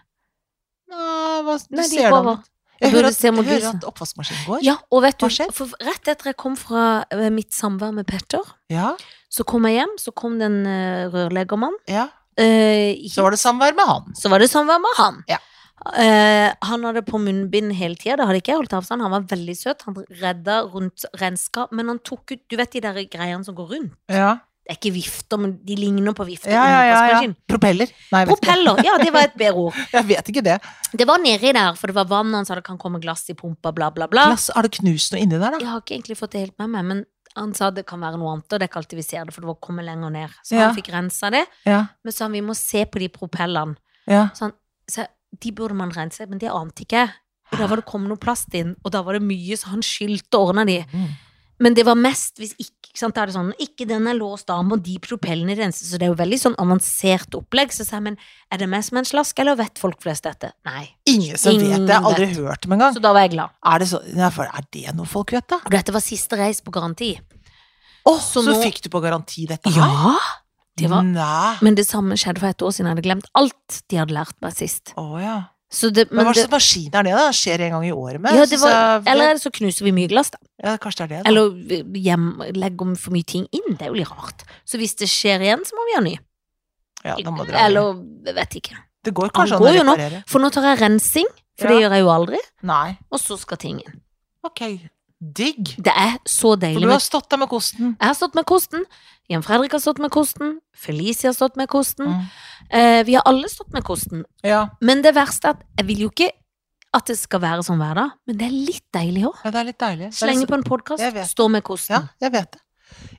Speaker 1: Nei, hva, du
Speaker 2: Nei, det
Speaker 1: ser
Speaker 2: gikk
Speaker 1: det.
Speaker 2: over.
Speaker 1: Jeg
Speaker 2: burde
Speaker 1: hører at,
Speaker 2: se mot
Speaker 1: jeg hører
Speaker 2: lyset.
Speaker 1: at oppvaskmaskinen går.
Speaker 2: Ja, og vet du,
Speaker 1: Hva skjer?
Speaker 2: for rett etter jeg kom fra eh, mitt samvær med Petter,
Speaker 1: Ja,
Speaker 2: så kom jeg hjem, så kom det en eh, rørleggermann
Speaker 1: ja.
Speaker 2: eh, hit.
Speaker 1: Så var det samvær med han.
Speaker 2: Så var det samvær med han.
Speaker 1: Ja.
Speaker 2: Eh, han hadde på munnbind hele tida, det hadde ikke jeg holdt avstand. Han var veldig søt, han redda rundt renska, men han tok ut Du vet de der greiene som går rundt?
Speaker 1: Ja,
Speaker 2: Det er ikke vifter, men de ligner på vifter.
Speaker 1: ja, ja. ja,
Speaker 2: under
Speaker 1: ja.
Speaker 2: vaskemaskin.
Speaker 1: Propeller. Nei, jeg vet ikke.
Speaker 2: Propeller, ja, det var et bedre ord.
Speaker 1: Jeg vet ikke det.
Speaker 2: Det var nedi der, for det var vann, og han sa det kan komme glass i pumpa, bla, bla, bla.
Speaker 1: Glass, har du knust noe inni der, da?
Speaker 2: Jeg har ikke egentlig fått det helt med meg, men han sa det kan være noe annet, og det er ikke alltid vi ser det, for det var kommet lenger ned. Så
Speaker 1: Ja.
Speaker 2: han fikk rensa det,
Speaker 1: Ja.
Speaker 2: men så sa han vi må se på de propellene.
Speaker 1: ja.
Speaker 2: Så jeg, de burde man rense, men det ante ikke jeg. Og da var det kommet noe plast inn, og da var det mye, så han skyldte og ordna de.
Speaker 1: Mm.
Speaker 2: Men det var mest hvis ikke ikke sant, da er det sånn, ikke den er låst, da må de propellene renses. Så det er jo veldig sånn avansert opplegg. Så sa jeg, men er det meg som er en slask, eller vet folk flest dette? Nei.
Speaker 1: Ingen som vet det. Jeg har aldri hørt dem engang.
Speaker 2: Så da var jeg glad.
Speaker 1: Er det, så, Nei, for er det noe folk vet, da?
Speaker 2: Og dette var siste reis på garanti.
Speaker 1: Åh,
Speaker 2: Så
Speaker 1: så,
Speaker 2: nå-
Speaker 1: fikk du på garanti dette her?
Speaker 2: Ja! Det var,
Speaker 1: Nei.
Speaker 2: men det samme skjedde for et år siden. Jeg hadde glemt alt de hadde lært meg sist.
Speaker 1: Å ja.
Speaker 2: Så det,
Speaker 1: Men
Speaker 2: men
Speaker 1: hva
Speaker 2: det,
Speaker 1: slags maskin er det, da? Skjer en gang i året med?
Speaker 2: ja, det
Speaker 1: Synes
Speaker 2: var,
Speaker 1: jeg-
Speaker 2: eller så knuser vi mye glass, da.
Speaker 1: ja, kanskje det er det. da.
Speaker 2: Eller vi- hjem, legger om for mye ting inn. Det er jo litt rart. Så hvis det skjer igjen, så må vi ha ny.
Speaker 1: ja, da må dere ha det.
Speaker 2: Eller jeg vet ikke.
Speaker 1: Det går kanskje
Speaker 2: Han
Speaker 1: an å
Speaker 2: går jo nå.
Speaker 1: reparere.
Speaker 2: For nå tar jeg rensing,
Speaker 1: Ja.
Speaker 2: For det gjør jeg jo aldri.
Speaker 1: Nei.
Speaker 2: Og så skal tingen.
Speaker 1: Ok. Digg.
Speaker 2: Det er så deilig.
Speaker 1: For du
Speaker 2: med-
Speaker 1: har stått der med kosten.
Speaker 2: Jeg har stått med kosten. Jan Fredrik har stått med kosten. Felicia har stått med kosten.
Speaker 1: Mm.
Speaker 2: Eh, vi har alle stått med kosten.
Speaker 1: Ja.
Speaker 2: Men det verste er at jeg vil jo ikke at det skal være sånn hver dag, men det er litt deilig òg.
Speaker 1: ja, det er litt deilig. Det er
Speaker 2: Slenge
Speaker 1: litt-
Speaker 2: på en podkast,
Speaker 1: Jeg vet.
Speaker 2: stå med
Speaker 1: Ja,
Speaker 2: kosten.
Speaker 1: jeg vet det.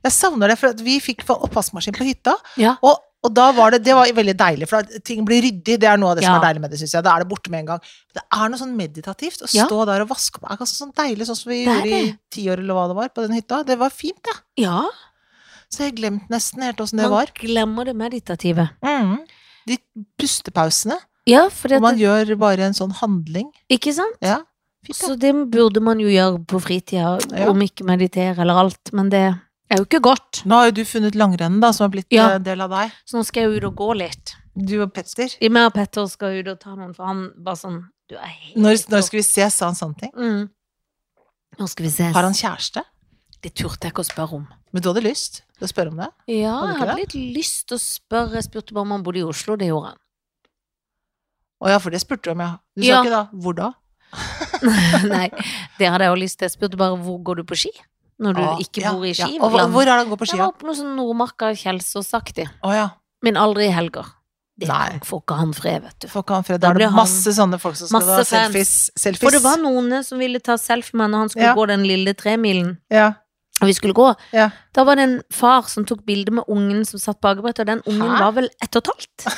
Speaker 1: Jeg savner det, for at vi fikk oppvaskmaskin på hytta.
Speaker 2: Ja.
Speaker 1: Og, og da var det, det var veldig deilig, for at ting blir ryddig. Det er noe av det som
Speaker 2: Ja.
Speaker 1: er deilig med det, syns jeg. Da er det borte med en gang. Det er noe sånn meditativt å
Speaker 2: Ja.
Speaker 1: stå der og vaske på. Det er ganske sånn deilig, sånn som vi
Speaker 2: Det er
Speaker 1: gjorde i tiår eller hva det var, på den hytta. Det var fint, det.
Speaker 2: Ja,
Speaker 1: Så jeg har glemt nesten helt åssen det
Speaker 2: man
Speaker 1: var.
Speaker 2: glemmer det meditative.
Speaker 1: Mm. De pustepausene.
Speaker 2: Ja, for det,
Speaker 1: Og man gjør bare en sånn handling.
Speaker 2: ikke sant?
Speaker 1: Ja. Fint, det.
Speaker 2: Så det burde man jo gjøre på fritida,
Speaker 1: Ja.
Speaker 2: om ikke meditere eller alt, men det er jo ikke godt.
Speaker 1: Nå har jo du funnet langrennet, da, som har blitt
Speaker 2: Ja.
Speaker 1: eh, del av deg.
Speaker 2: Så nå skal jeg ut og gå litt.
Speaker 1: Du og Petter.
Speaker 2: Jeg og Petter skal ut og ta noen, for han var sånn Du er helt
Speaker 1: Når, når skal vi ses, sa han sånne ting.
Speaker 2: mm. Nå skal vi ses.
Speaker 1: Har han kjæreste?
Speaker 2: Det turte jeg ikke å spørre om.
Speaker 1: Men du hadde lyst til å spørre om det?
Speaker 2: Ja,
Speaker 1: Hadde
Speaker 2: jeg
Speaker 1: ikke
Speaker 2: hadde litt lyst til å spørre. Jeg spurte bare om han bodde i Oslo, det gjorde han.
Speaker 1: Å ja, for det spurte du om, ja. Du sa
Speaker 2: Ja.
Speaker 1: ikke da hvor da?
Speaker 2: <laughs> Nei, det hadde jeg også lyst til. Jeg spurte bare hvor går du på ski? Når du
Speaker 1: Ah,
Speaker 2: ikke
Speaker 1: ja,
Speaker 2: bor i
Speaker 1: ja.
Speaker 2: Ski.
Speaker 1: Og hva- hvor er det han går på
Speaker 2: Jeg
Speaker 1: ski? da?
Speaker 2: var på noe sånn Nordmarka Kjelsåsaktig,
Speaker 1: Å ja.
Speaker 2: men aldri i helger. Det
Speaker 1: Nei.
Speaker 2: kan- får ikke han fred, vet du.
Speaker 1: Får ikke han fred.
Speaker 2: Da
Speaker 1: Da er det
Speaker 2: blir han-
Speaker 1: masse sånne folk som skal
Speaker 2: Masse
Speaker 1: ha
Speaker 2: fans.
Speaker 1: selfies. selfies.
Speaker 2: For det var noen som ville ta selfie med han når han skulle
Speaker 1: Ja.
Speaker 2: gå den lille tremilen.
Speaker 1: ja. <laughs>
Speaker 2: Og vi skulle gå.
Speaker 1: Ja.
Speaker 2: Da var det en far som tok bilde med ungen som satt på akebrettet, og den ungen
Speaker 1: Hæ?
Speaker 2: var vel ett og et halvt.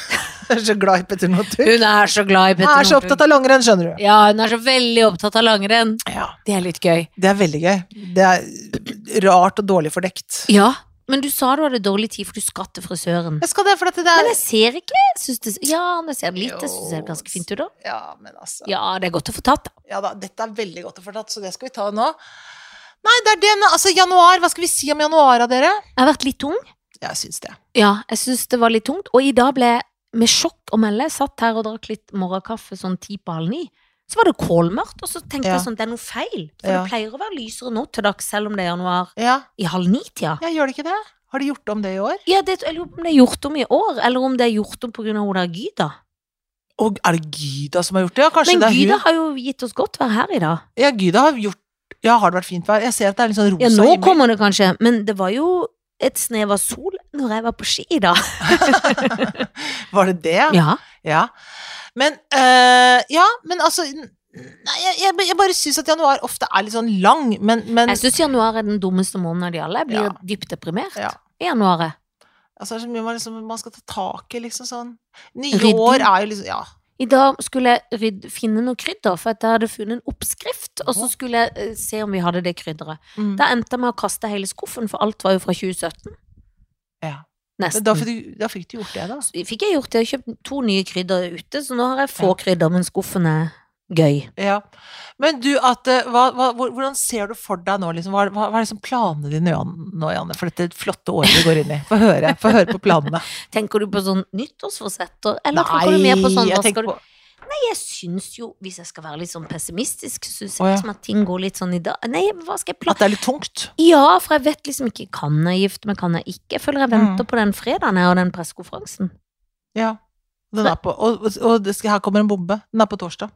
Speaker 1: Jeg er så glad i Petter Northug.
Speaker 2: Hun er så glad i Petter
Speaker 1: Jeg er så opptatt av langrenn, skjønner du.
Speaker 2: Ja, hun er så veldig opptatt av langrenn.
Speaker 1: Ja.
Speaker 2: Det er litt gøy.
Speaker 1: Det er veldig gøy. Det er rart og dårlig fordekt.
Speaker 2: Ja, men du sa du hadde dårlig tid, for du skatt til frisøren.
Speaker 1: Jeg skal det, for at det
Speaker 2: Men
Speaker 1: er
Speaker 2: jeg ser ikke jeg synes det, Ja, men jeg ser det litt. Jeg syns det er ganske fint ut, da.
Speaker 1: Ja, men altså.
Speaker 2: Ja, det er godt å få tatt, da.
Speaker 1: Ja da, dette er veldig godt å få tatt, så det skal vi ta nå. Nei, det er det nå. Altså, januar. Hva skal vi si om januar, da, dere?
Speaker 2: Jeg har vært litt tung.
Speaker 1: Jeg syns det.
Speaker 2: Ja, jeg syns det var litt tungt. Og i dag ble jeg med sjokk å melde. Jeg satt her og drakk litt morgenkaffe sånn ti på halv ni. Så var det kålmørkt, og så tenkte
Speaker 1: Ja.
Speaker 2: jeg sånn, det er noe feil. For
Speaker 1: Ja.
Speaker 2: det pleier å være lysere nå til dags, selv om det er januar
Speaker 1: Ja,
Speaker 2: i halv ni-tida.
Speaker 1: ja gjør det ikke det? Har de gjort om det i år?
Speaker 2: Ja, det, jeg lurer på om det er gjort om i år, eller om det er gjort om på grunn av hun der Gyda.
Speaker 1: Og er det Gyda som har gjort det? Ja, kanskje
Speaker 2: Men
Speaker 1: det er
Speaker 2: Gyda
Speaker 1: hun?
Speaker 2: har jo gitt oss godt vær her i dag.
Speaker 1: Ja, Gyda har gjort Ja, har det vært fint vær? Jeg ser at det er litt sånn rosa
Speaker 2: Ja, nå
Speaker 1: himmel.
Speaker 2: kommer det kanskje, men det var jo et snev av sol når jeg var på ski i dag.
Speaker 1: Var det det? Ja.
Speaker 2: Ja.
Speaker 1: Men eh, Ja, men altså Nei, jeg, jeg, jeg bare syns at januar ofte er litt sånn lang, men, men
Speaker 2: Jeg syns januar er den dummeste måneden av de alle. Jeg blir
Speaker 1: Ja.
Speaker 2: dypt deprimert
Speaker 1: Ja.
Speaker 2: i januaret.
Speaker 1: altså, det er så mye man, liksom, man skal ta tak i, liksom sånn. Nye
Speaker 2: Rydding.
Speaker 1: år er jo liksom Ja.
Speaker 2: I dag skulle jeg rydde, finne noe krydder, for at jeg hadde funnet en oppskrift. Og så
Speaker 1: Åh.
Speaker 2: skulle jeg eh, se om vi hadde det krydderet.
Speaker 1: Mm.
Speaker 2: Da endte jeg med å kaste hele skuffen, for alt var jo fra 2017.
Speaker 1: Ja. Men
Speaker 2: Nesten.
Speaker 1: Da, fikk du, da fikk du gjort det, da.
Speaker 2: Så fikk jeg gjort det, og kjøpt to nye krydder ute, så nå har jeg få krydder, men skuffen er gøy.
Speaker 1: Ja. Men du, Ate, hva, hva, hvor- hvordan ser du for deg nå? Liksom, hva, hva hva er liksom planene dine Jan- nå, Janne, for dette flotte året vi går inn i? Få høre, få høre på planene.
Speaker 2: Tenker du på sånn nyttårsforsetter, eller tenker du mer på sånn hva skal du
Speaker 1: på
Speaker 2: jeg syns jo, hvis jeg skal være litt sånn pessimistisk, så syns jeg
Speaker 1: Å, ja.
Speaker 2: liksom at ting går litt sånn i dag. Nei, hva skal jeg
Speaker 1: at
Speaker 2: planlegge?
Speaker 1: det er litt tungt.
Speaker 2: Ja, for jeg vet liksom ikke. Kan jeg gifte meg, kan jeg ikke? Jeg føler jeg venter
Speaker 1: Mm.
Speaker 2: på den fredagen her og den pressekonferansen.
Speaker 1: Ja. Den er på, og og- og det skal, her kommer en bombe. Den er på torsdag.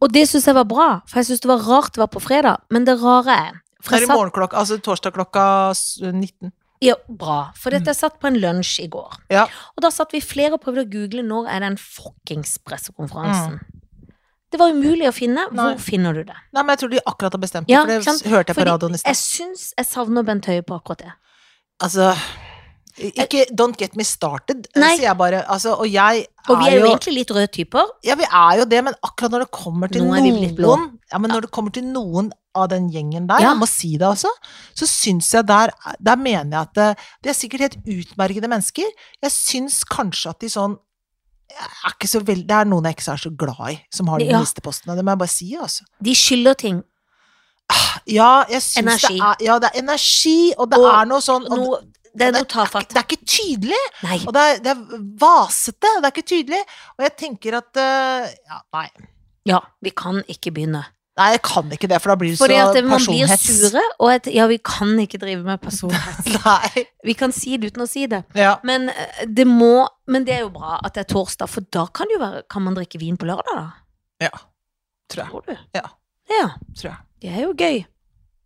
Speaker 2: Og det syns jeg var bra, for jeg syns det var rart det var på fredag. Men det rare er
Speaker 1: Det
Speaker 2: for
Speaker 1: er i
Speaker 2: jeg satt,
Speaker 1: morgen klokka, altså torsdag klokka s- 19.
Speaker 2: ja, bra, for dette jeg satt på en lunsj i går.
Speaker 1: Mm. Ja.
Speaker 2: Og da satt vi flere og prøvde å google når er den fuckings pressekonferansen. Det var umulig å finne.
Speaker 1: Mm. Nei.
Speaker 2: Hvor finner du det?
Speaker 1: Nei, men jeg tror de akkurat har bestemt det,
Speaker 2: Ja,
Speaker 1: for det
Speaker 2: ikke sant?
Speaker 1: hørte jeg på
Speaker 2: Fordi
Speaker 1: radioen i
Speaker 2: Jeg
Speaker 1: sted.
Speaker 2: syns jeg savner Bent Høie på akkurat det.
Speaker 1: Altså ikke Don't get me started,
Speaker 2: Nei.
Speaker 1: sier jeg bare. Altså, og jeg
Speaker 2: Og vi er jo egentlig litt røde typer.
Speaker 1: Ja, vi er jo det, men akkurat når det kommer til
Speaker 2: Nå er vi blitt blå.
Speaker 1: noen Ja, men når det kommer til noen av den gjengen der,
Speaker 2: Ja.
Speaker 1: jeg må si det altså, så syns jeg der Der mener jeg at det, de er sikkert helt utmerkede mennesker. Jeg syns kanskje at de sånn jeg er ikke så veld, Det er noen jeg ikke er så glad i, som har de
Speaker 2: Ja.
Speaker 1: ministerpostene. Det må jeg bare si, altså.
Speaker 2: De skylder ting.
Speaker 1: Ja, jeg syns
Speaker 2: Energi.
Speaker 1: det er Ja, det er energi, og det
Speaker 2: Og
Speaker 1: er noe sånn og det-
Speaker 2: Noe, det er noe tafatt.
Speaker 1: Det er ikke tydelig!
Speaker 2: Nei.
Speaker 1: Og det er, det er vasete, det er ikke tydelig. Og jeg tenker at eh, Ja, nei.
Speaker 2: Ja, vi kan ikke begynne.
Speaker 1: Nei, jeg kan ikke det, for da blir det så
Speaker 2: Fordi at man blir
Speaker 1: personhets.
Speaker 2: sure, og at ja, vi kan ikke drive med personhets.
Speaker 1: <laughs> Nei.
Speaker 2: Vi kan si det uten å si det.
Speaker 1: Ja.
Speaker 2: Men eh, det må Men det er jo bra at det er torsdag, for da kan, det jo være, kan man drikke vin på lørdag, da.
Speaker 1: ja. Tror jeg.
Speaker 2: Tror du?
Speaker 1: Ja.
Speaker 2: Ja.
Speaker 1: Tror jeg.
Speaker 2: Det er jo gøy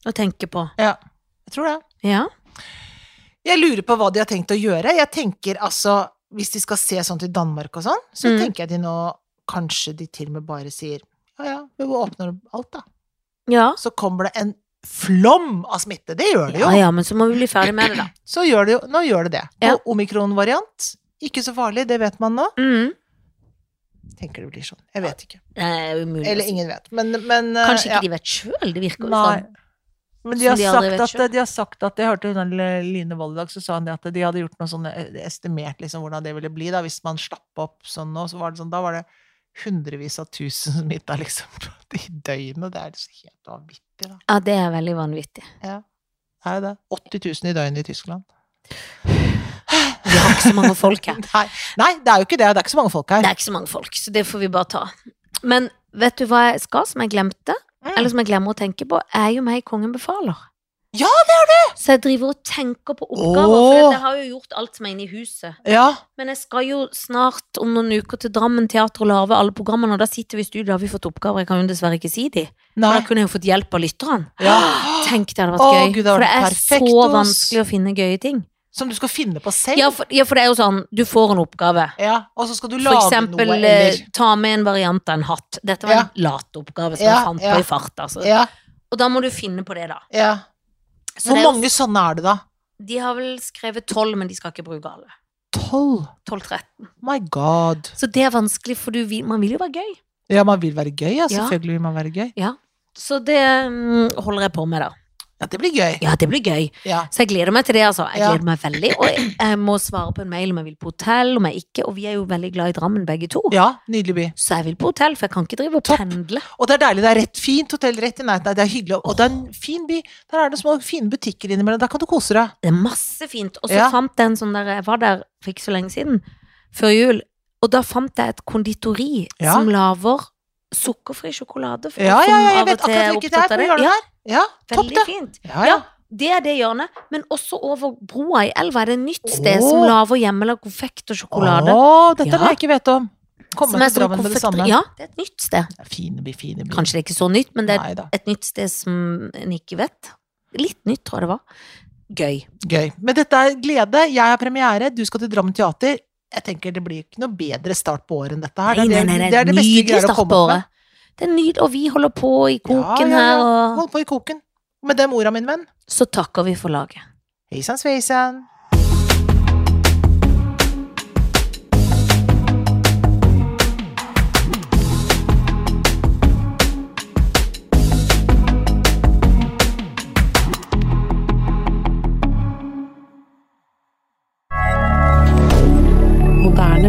Speaker 2: å tenke på.
Speaker 1: Ja, jeg tror det.
Speaker 2: Ja.
Speaker 1: Jeg lurer på hva de har tenkt å gjøre. Jeg tenker altså, Hvis de skal se sånn til Danmark og sånn, så
Speaker 2: Mm.
Speaker 1: tenker jeg de nå Kanskje de til og med bare sier ja ja, vi åpner alt, da.
Speaker 2: Ja.
Speaker 1: Så kommer det en flom av smitte. Det gjør det jo.
Speaker 2: ja, ja, men så må vi bli ferdig
Speaker 1: <clears throat>
Speaker 2: med det, da.
Speaker 1: Så gjør det jo, nå gjør det det.
Speaker 2: Ja.
Speaker 1: Og omikron-variant, ikke så farlig, det vet man nå.
Speaker 2: Mm.
Speaker 1: Tenker det blir sånn. Jeg vet ikke.
Speaker 2: Det er jo umulig. å
Speaker 1: Eller
Speaker 2: si.
Speaker 1: ingen vet. Men, men eh,
Speaker 2: Kanskje ikke
Speaker 1: ja.
Speaker 2: de vet sjøl, det virker jo
Speaker 1: Nei.
Speaker 2: sånn.
Speaker 1: Men de
Speaker 2: Som
Speaker 1: har,
Speaker 2: de aldri vet
Speaker 1: sagt
Speaker 2: selv.
Speaker 1: at, de har sagt at Jeg hørte hun der Line Wold i dag, så sa hun det at de hadde gjort noe sånn eh, estimert liksom, hvordan det ville bli da, hvis man slapp opp sånn nå. Så var det sånn, da var det hundrevis av tusen smitta liksom, <laughs> i døgnet. Det er så helt vanvittig, da.
Speaker 2: Ja, det er veldig vanvittig.
Speaker 1: Det er jo det. 80 000 i døgnet i Tyskland.
Speaker 2: Vi har ikke så mange folk her.
Speaker 1: <laughs> Nei, nei, det er jo ikke det. Det er ikke så mange folk
Speaker 2: Det
Speaker 1: her.
Speaker 2: er ikke så mange folk, så det får vi bare ta. Men vet du hva jeg skal, som jeg glemte?
Speaker 1: Mm.
Speaker 2: Eller som jeg glemmer å tenke på, er jo meg i Kongen befaler.
Speaker 1: Ja,
Speaker 2: det er du! Så jeg driver og tenker på oppgaver,
Speaker 1: Åh.
Speaker 2: for jeg har jo gjort alt som er inne i huset.
Speaker 1: Ja,
Speaker 2: Men jeg skal jo snart om noen uker til Drammen teater og lage alle programmene, og da sitter vi i studio, da har vi fått oppgaver, jeg kan jo dessverre ikke si de.
Speaker 1: nei.
Speaker 2: For da kunne jeg jo fått hjelp av lytteren.
Speaker 1: Ja.
Speaker 2: <gasps> Tenk det hadde vært
Speaker 1: Åh,
Speaker 2: gøy,
Speaker 1: Gud, det hadde
Speaker 2: for det
Speaker 1: vært
Speaker 2: er
Speaker 1: perfekt,
Speaker 2: så
Speaker 1: ass.
Speaker 2: vanskelig å finne gøye ting.
Speaker 1: Som du skal finne på selv.
Speaker 2: Ja for, ja, for det er jo sånn, du får en oppgave.
Speaker 1: Ja, og så skal du
Speaker 2: For
Speaker 1: lage
Speaker 2: eksempel
Speaker 1: noe,
Speaker 2: eh,
Speaker 1: eller
Speaker 2: ta med en variant av en hatt. Dette var
Speaker 1: Ja.
Speaker 2: en latoppgave som
Speaker 1: Ja,
Speaker 2: jeg fant
Speaker 1: ja.
Speaker 2: på i fart. Altså.
Speaker 1: Ja,
Speaker 2: Og da må du finne på det, da.
Speaker 1: ja.
Speaker 2: Så
Speaker 1: Hvor
Speaker 2: det er jo-
Speaker 1: mange sånne er det, da?
Speaker 2: De har vel skrevet tolv, men de skal ikke bruke alle.
Speaker 1: Tolv?
Speaker 2: 12-13.
Speaker 1: My god.
Speaker 2: Så det er vanskelig, for du vil, man vil jo være gøy.
Speaker 1: Ja, man vil være gøy, ja.
Speaker 2: Ja.
Speaker 1: Selvfølgelig vil man være gøy.
Speaker 2: Så det mm, holder jeg på med, da.
Speaker 1: Ja, det blir gøy.
Speaker 2: Ja, det blir gøy.
Speaker 1: Ja.
Speaker 2: Så jeg gleder meg til det, altså. Jeg
Speaker 1: Ja.
Speaker 2: gleder meg veldig. Og jeg, jeg må svare på en mail om jeg vil på hotell, om jeg ikke. Og vi er jo veldig glad i Drammen, begge to.
Speaker 1: ja, nydelig by.
Speaker 2: Så jeg vil på hotell, for jeg kan ikke drive og
Speaker 1: Topp.
Speaker 2: pendle.
Speaker 1: Og det er deilig. Det er rett fint hotell rett i nærheten. Det er hyggelig. Og det er en fin by. Der er det små fine butikker innimellom. Der kan du kose deg.
Speaker 2: Det er masse fint. Og så
Speaker 1: Ja.
Speaker 2: fant jeg en sånn der Jeg var der for ikke så lenge siden, før jul, og da fant jeg et konditori
Speaker 1: Ja.
Speaker 2: som lager sukkerfri sjokolade. For
Speaker 1: Ja,
Speaker 2: oss
Speaker 1: ja,
Speaker 2: som
Speaker 1: ja, jeg
Speaker 2: av og
Speaker 1: vet
Speaker 2: til
Speaker 1: akkurat
Speaker 2: er
Speaker 1: hvilket
Speaker 2: opptatt
Speaker 1: det er. Hvor gjør
Speaker 2: av
Speaker 1: du
Speaker 2: Ja,
Speaker 1: Ja, topp
Speaker 2: veldig
Speaker 1: det.
Speaker 2: fint.
Speaker 1: Ja, ja.
Speaker 2: Ja. Det er det hjørnet, men også over broa i elva er det et nytt sted
Speaker 1: Åh.
Speaker 2: som lager hjemmelagd konfekt og sjokolade.
Speaker 1: Å, dette er
Speaker 2: Ja.
Speaker 1: det jeg ikke vet om. Komme
Speaker 2: som er
Speaker 1: til
Speaker 2: som
Speaker 1: Drammen med det
Speaker 2: konfekteri-
Speaker 1: samme.
Speaker 2: Ja, det er et nytt sted.
Speaker 1: Fine by, fine by.
Speaker 2: Kanskje det er ikke så nytt, men det er
Speaker 1: Nei da.
Speaker 2: et nytt sted som en ikke vet. Litt nytt, tror jeg det var. Gøy.
Speaker 1: Gøy. Men dette er glede. Jeg har premiere, du skal til Drammen teater. Jeg tenker Det blir ikke noe bedre start på året enn dette her.
Speaker 2: Nei,
Speaker 1: Det
Speaker 2: nei,
Speaker 1: er
Speaker 2: nei,
Speaker 1: det,
Speaker 2: det
Speaker 1: det
Speaker 2: er
Speaker 1: er det beste vi
Speaker 2: nydelig
Speaker 1: greier å
Speaker 2: start
Speaker 1: komme
Speaker 2: på
Speaker 1: opp med.
Speaker 2: året. Det er nydelig, og vi holder på i koken
Speaker 1: ja, ja.
Speaker 2: her, og
Speaker 1: Hold på i koken. Og med det mora, min venn.
Speaker 2: så takker vi for laget.
Speaker 1: Heisan sveisan.
Speaker 3: moderne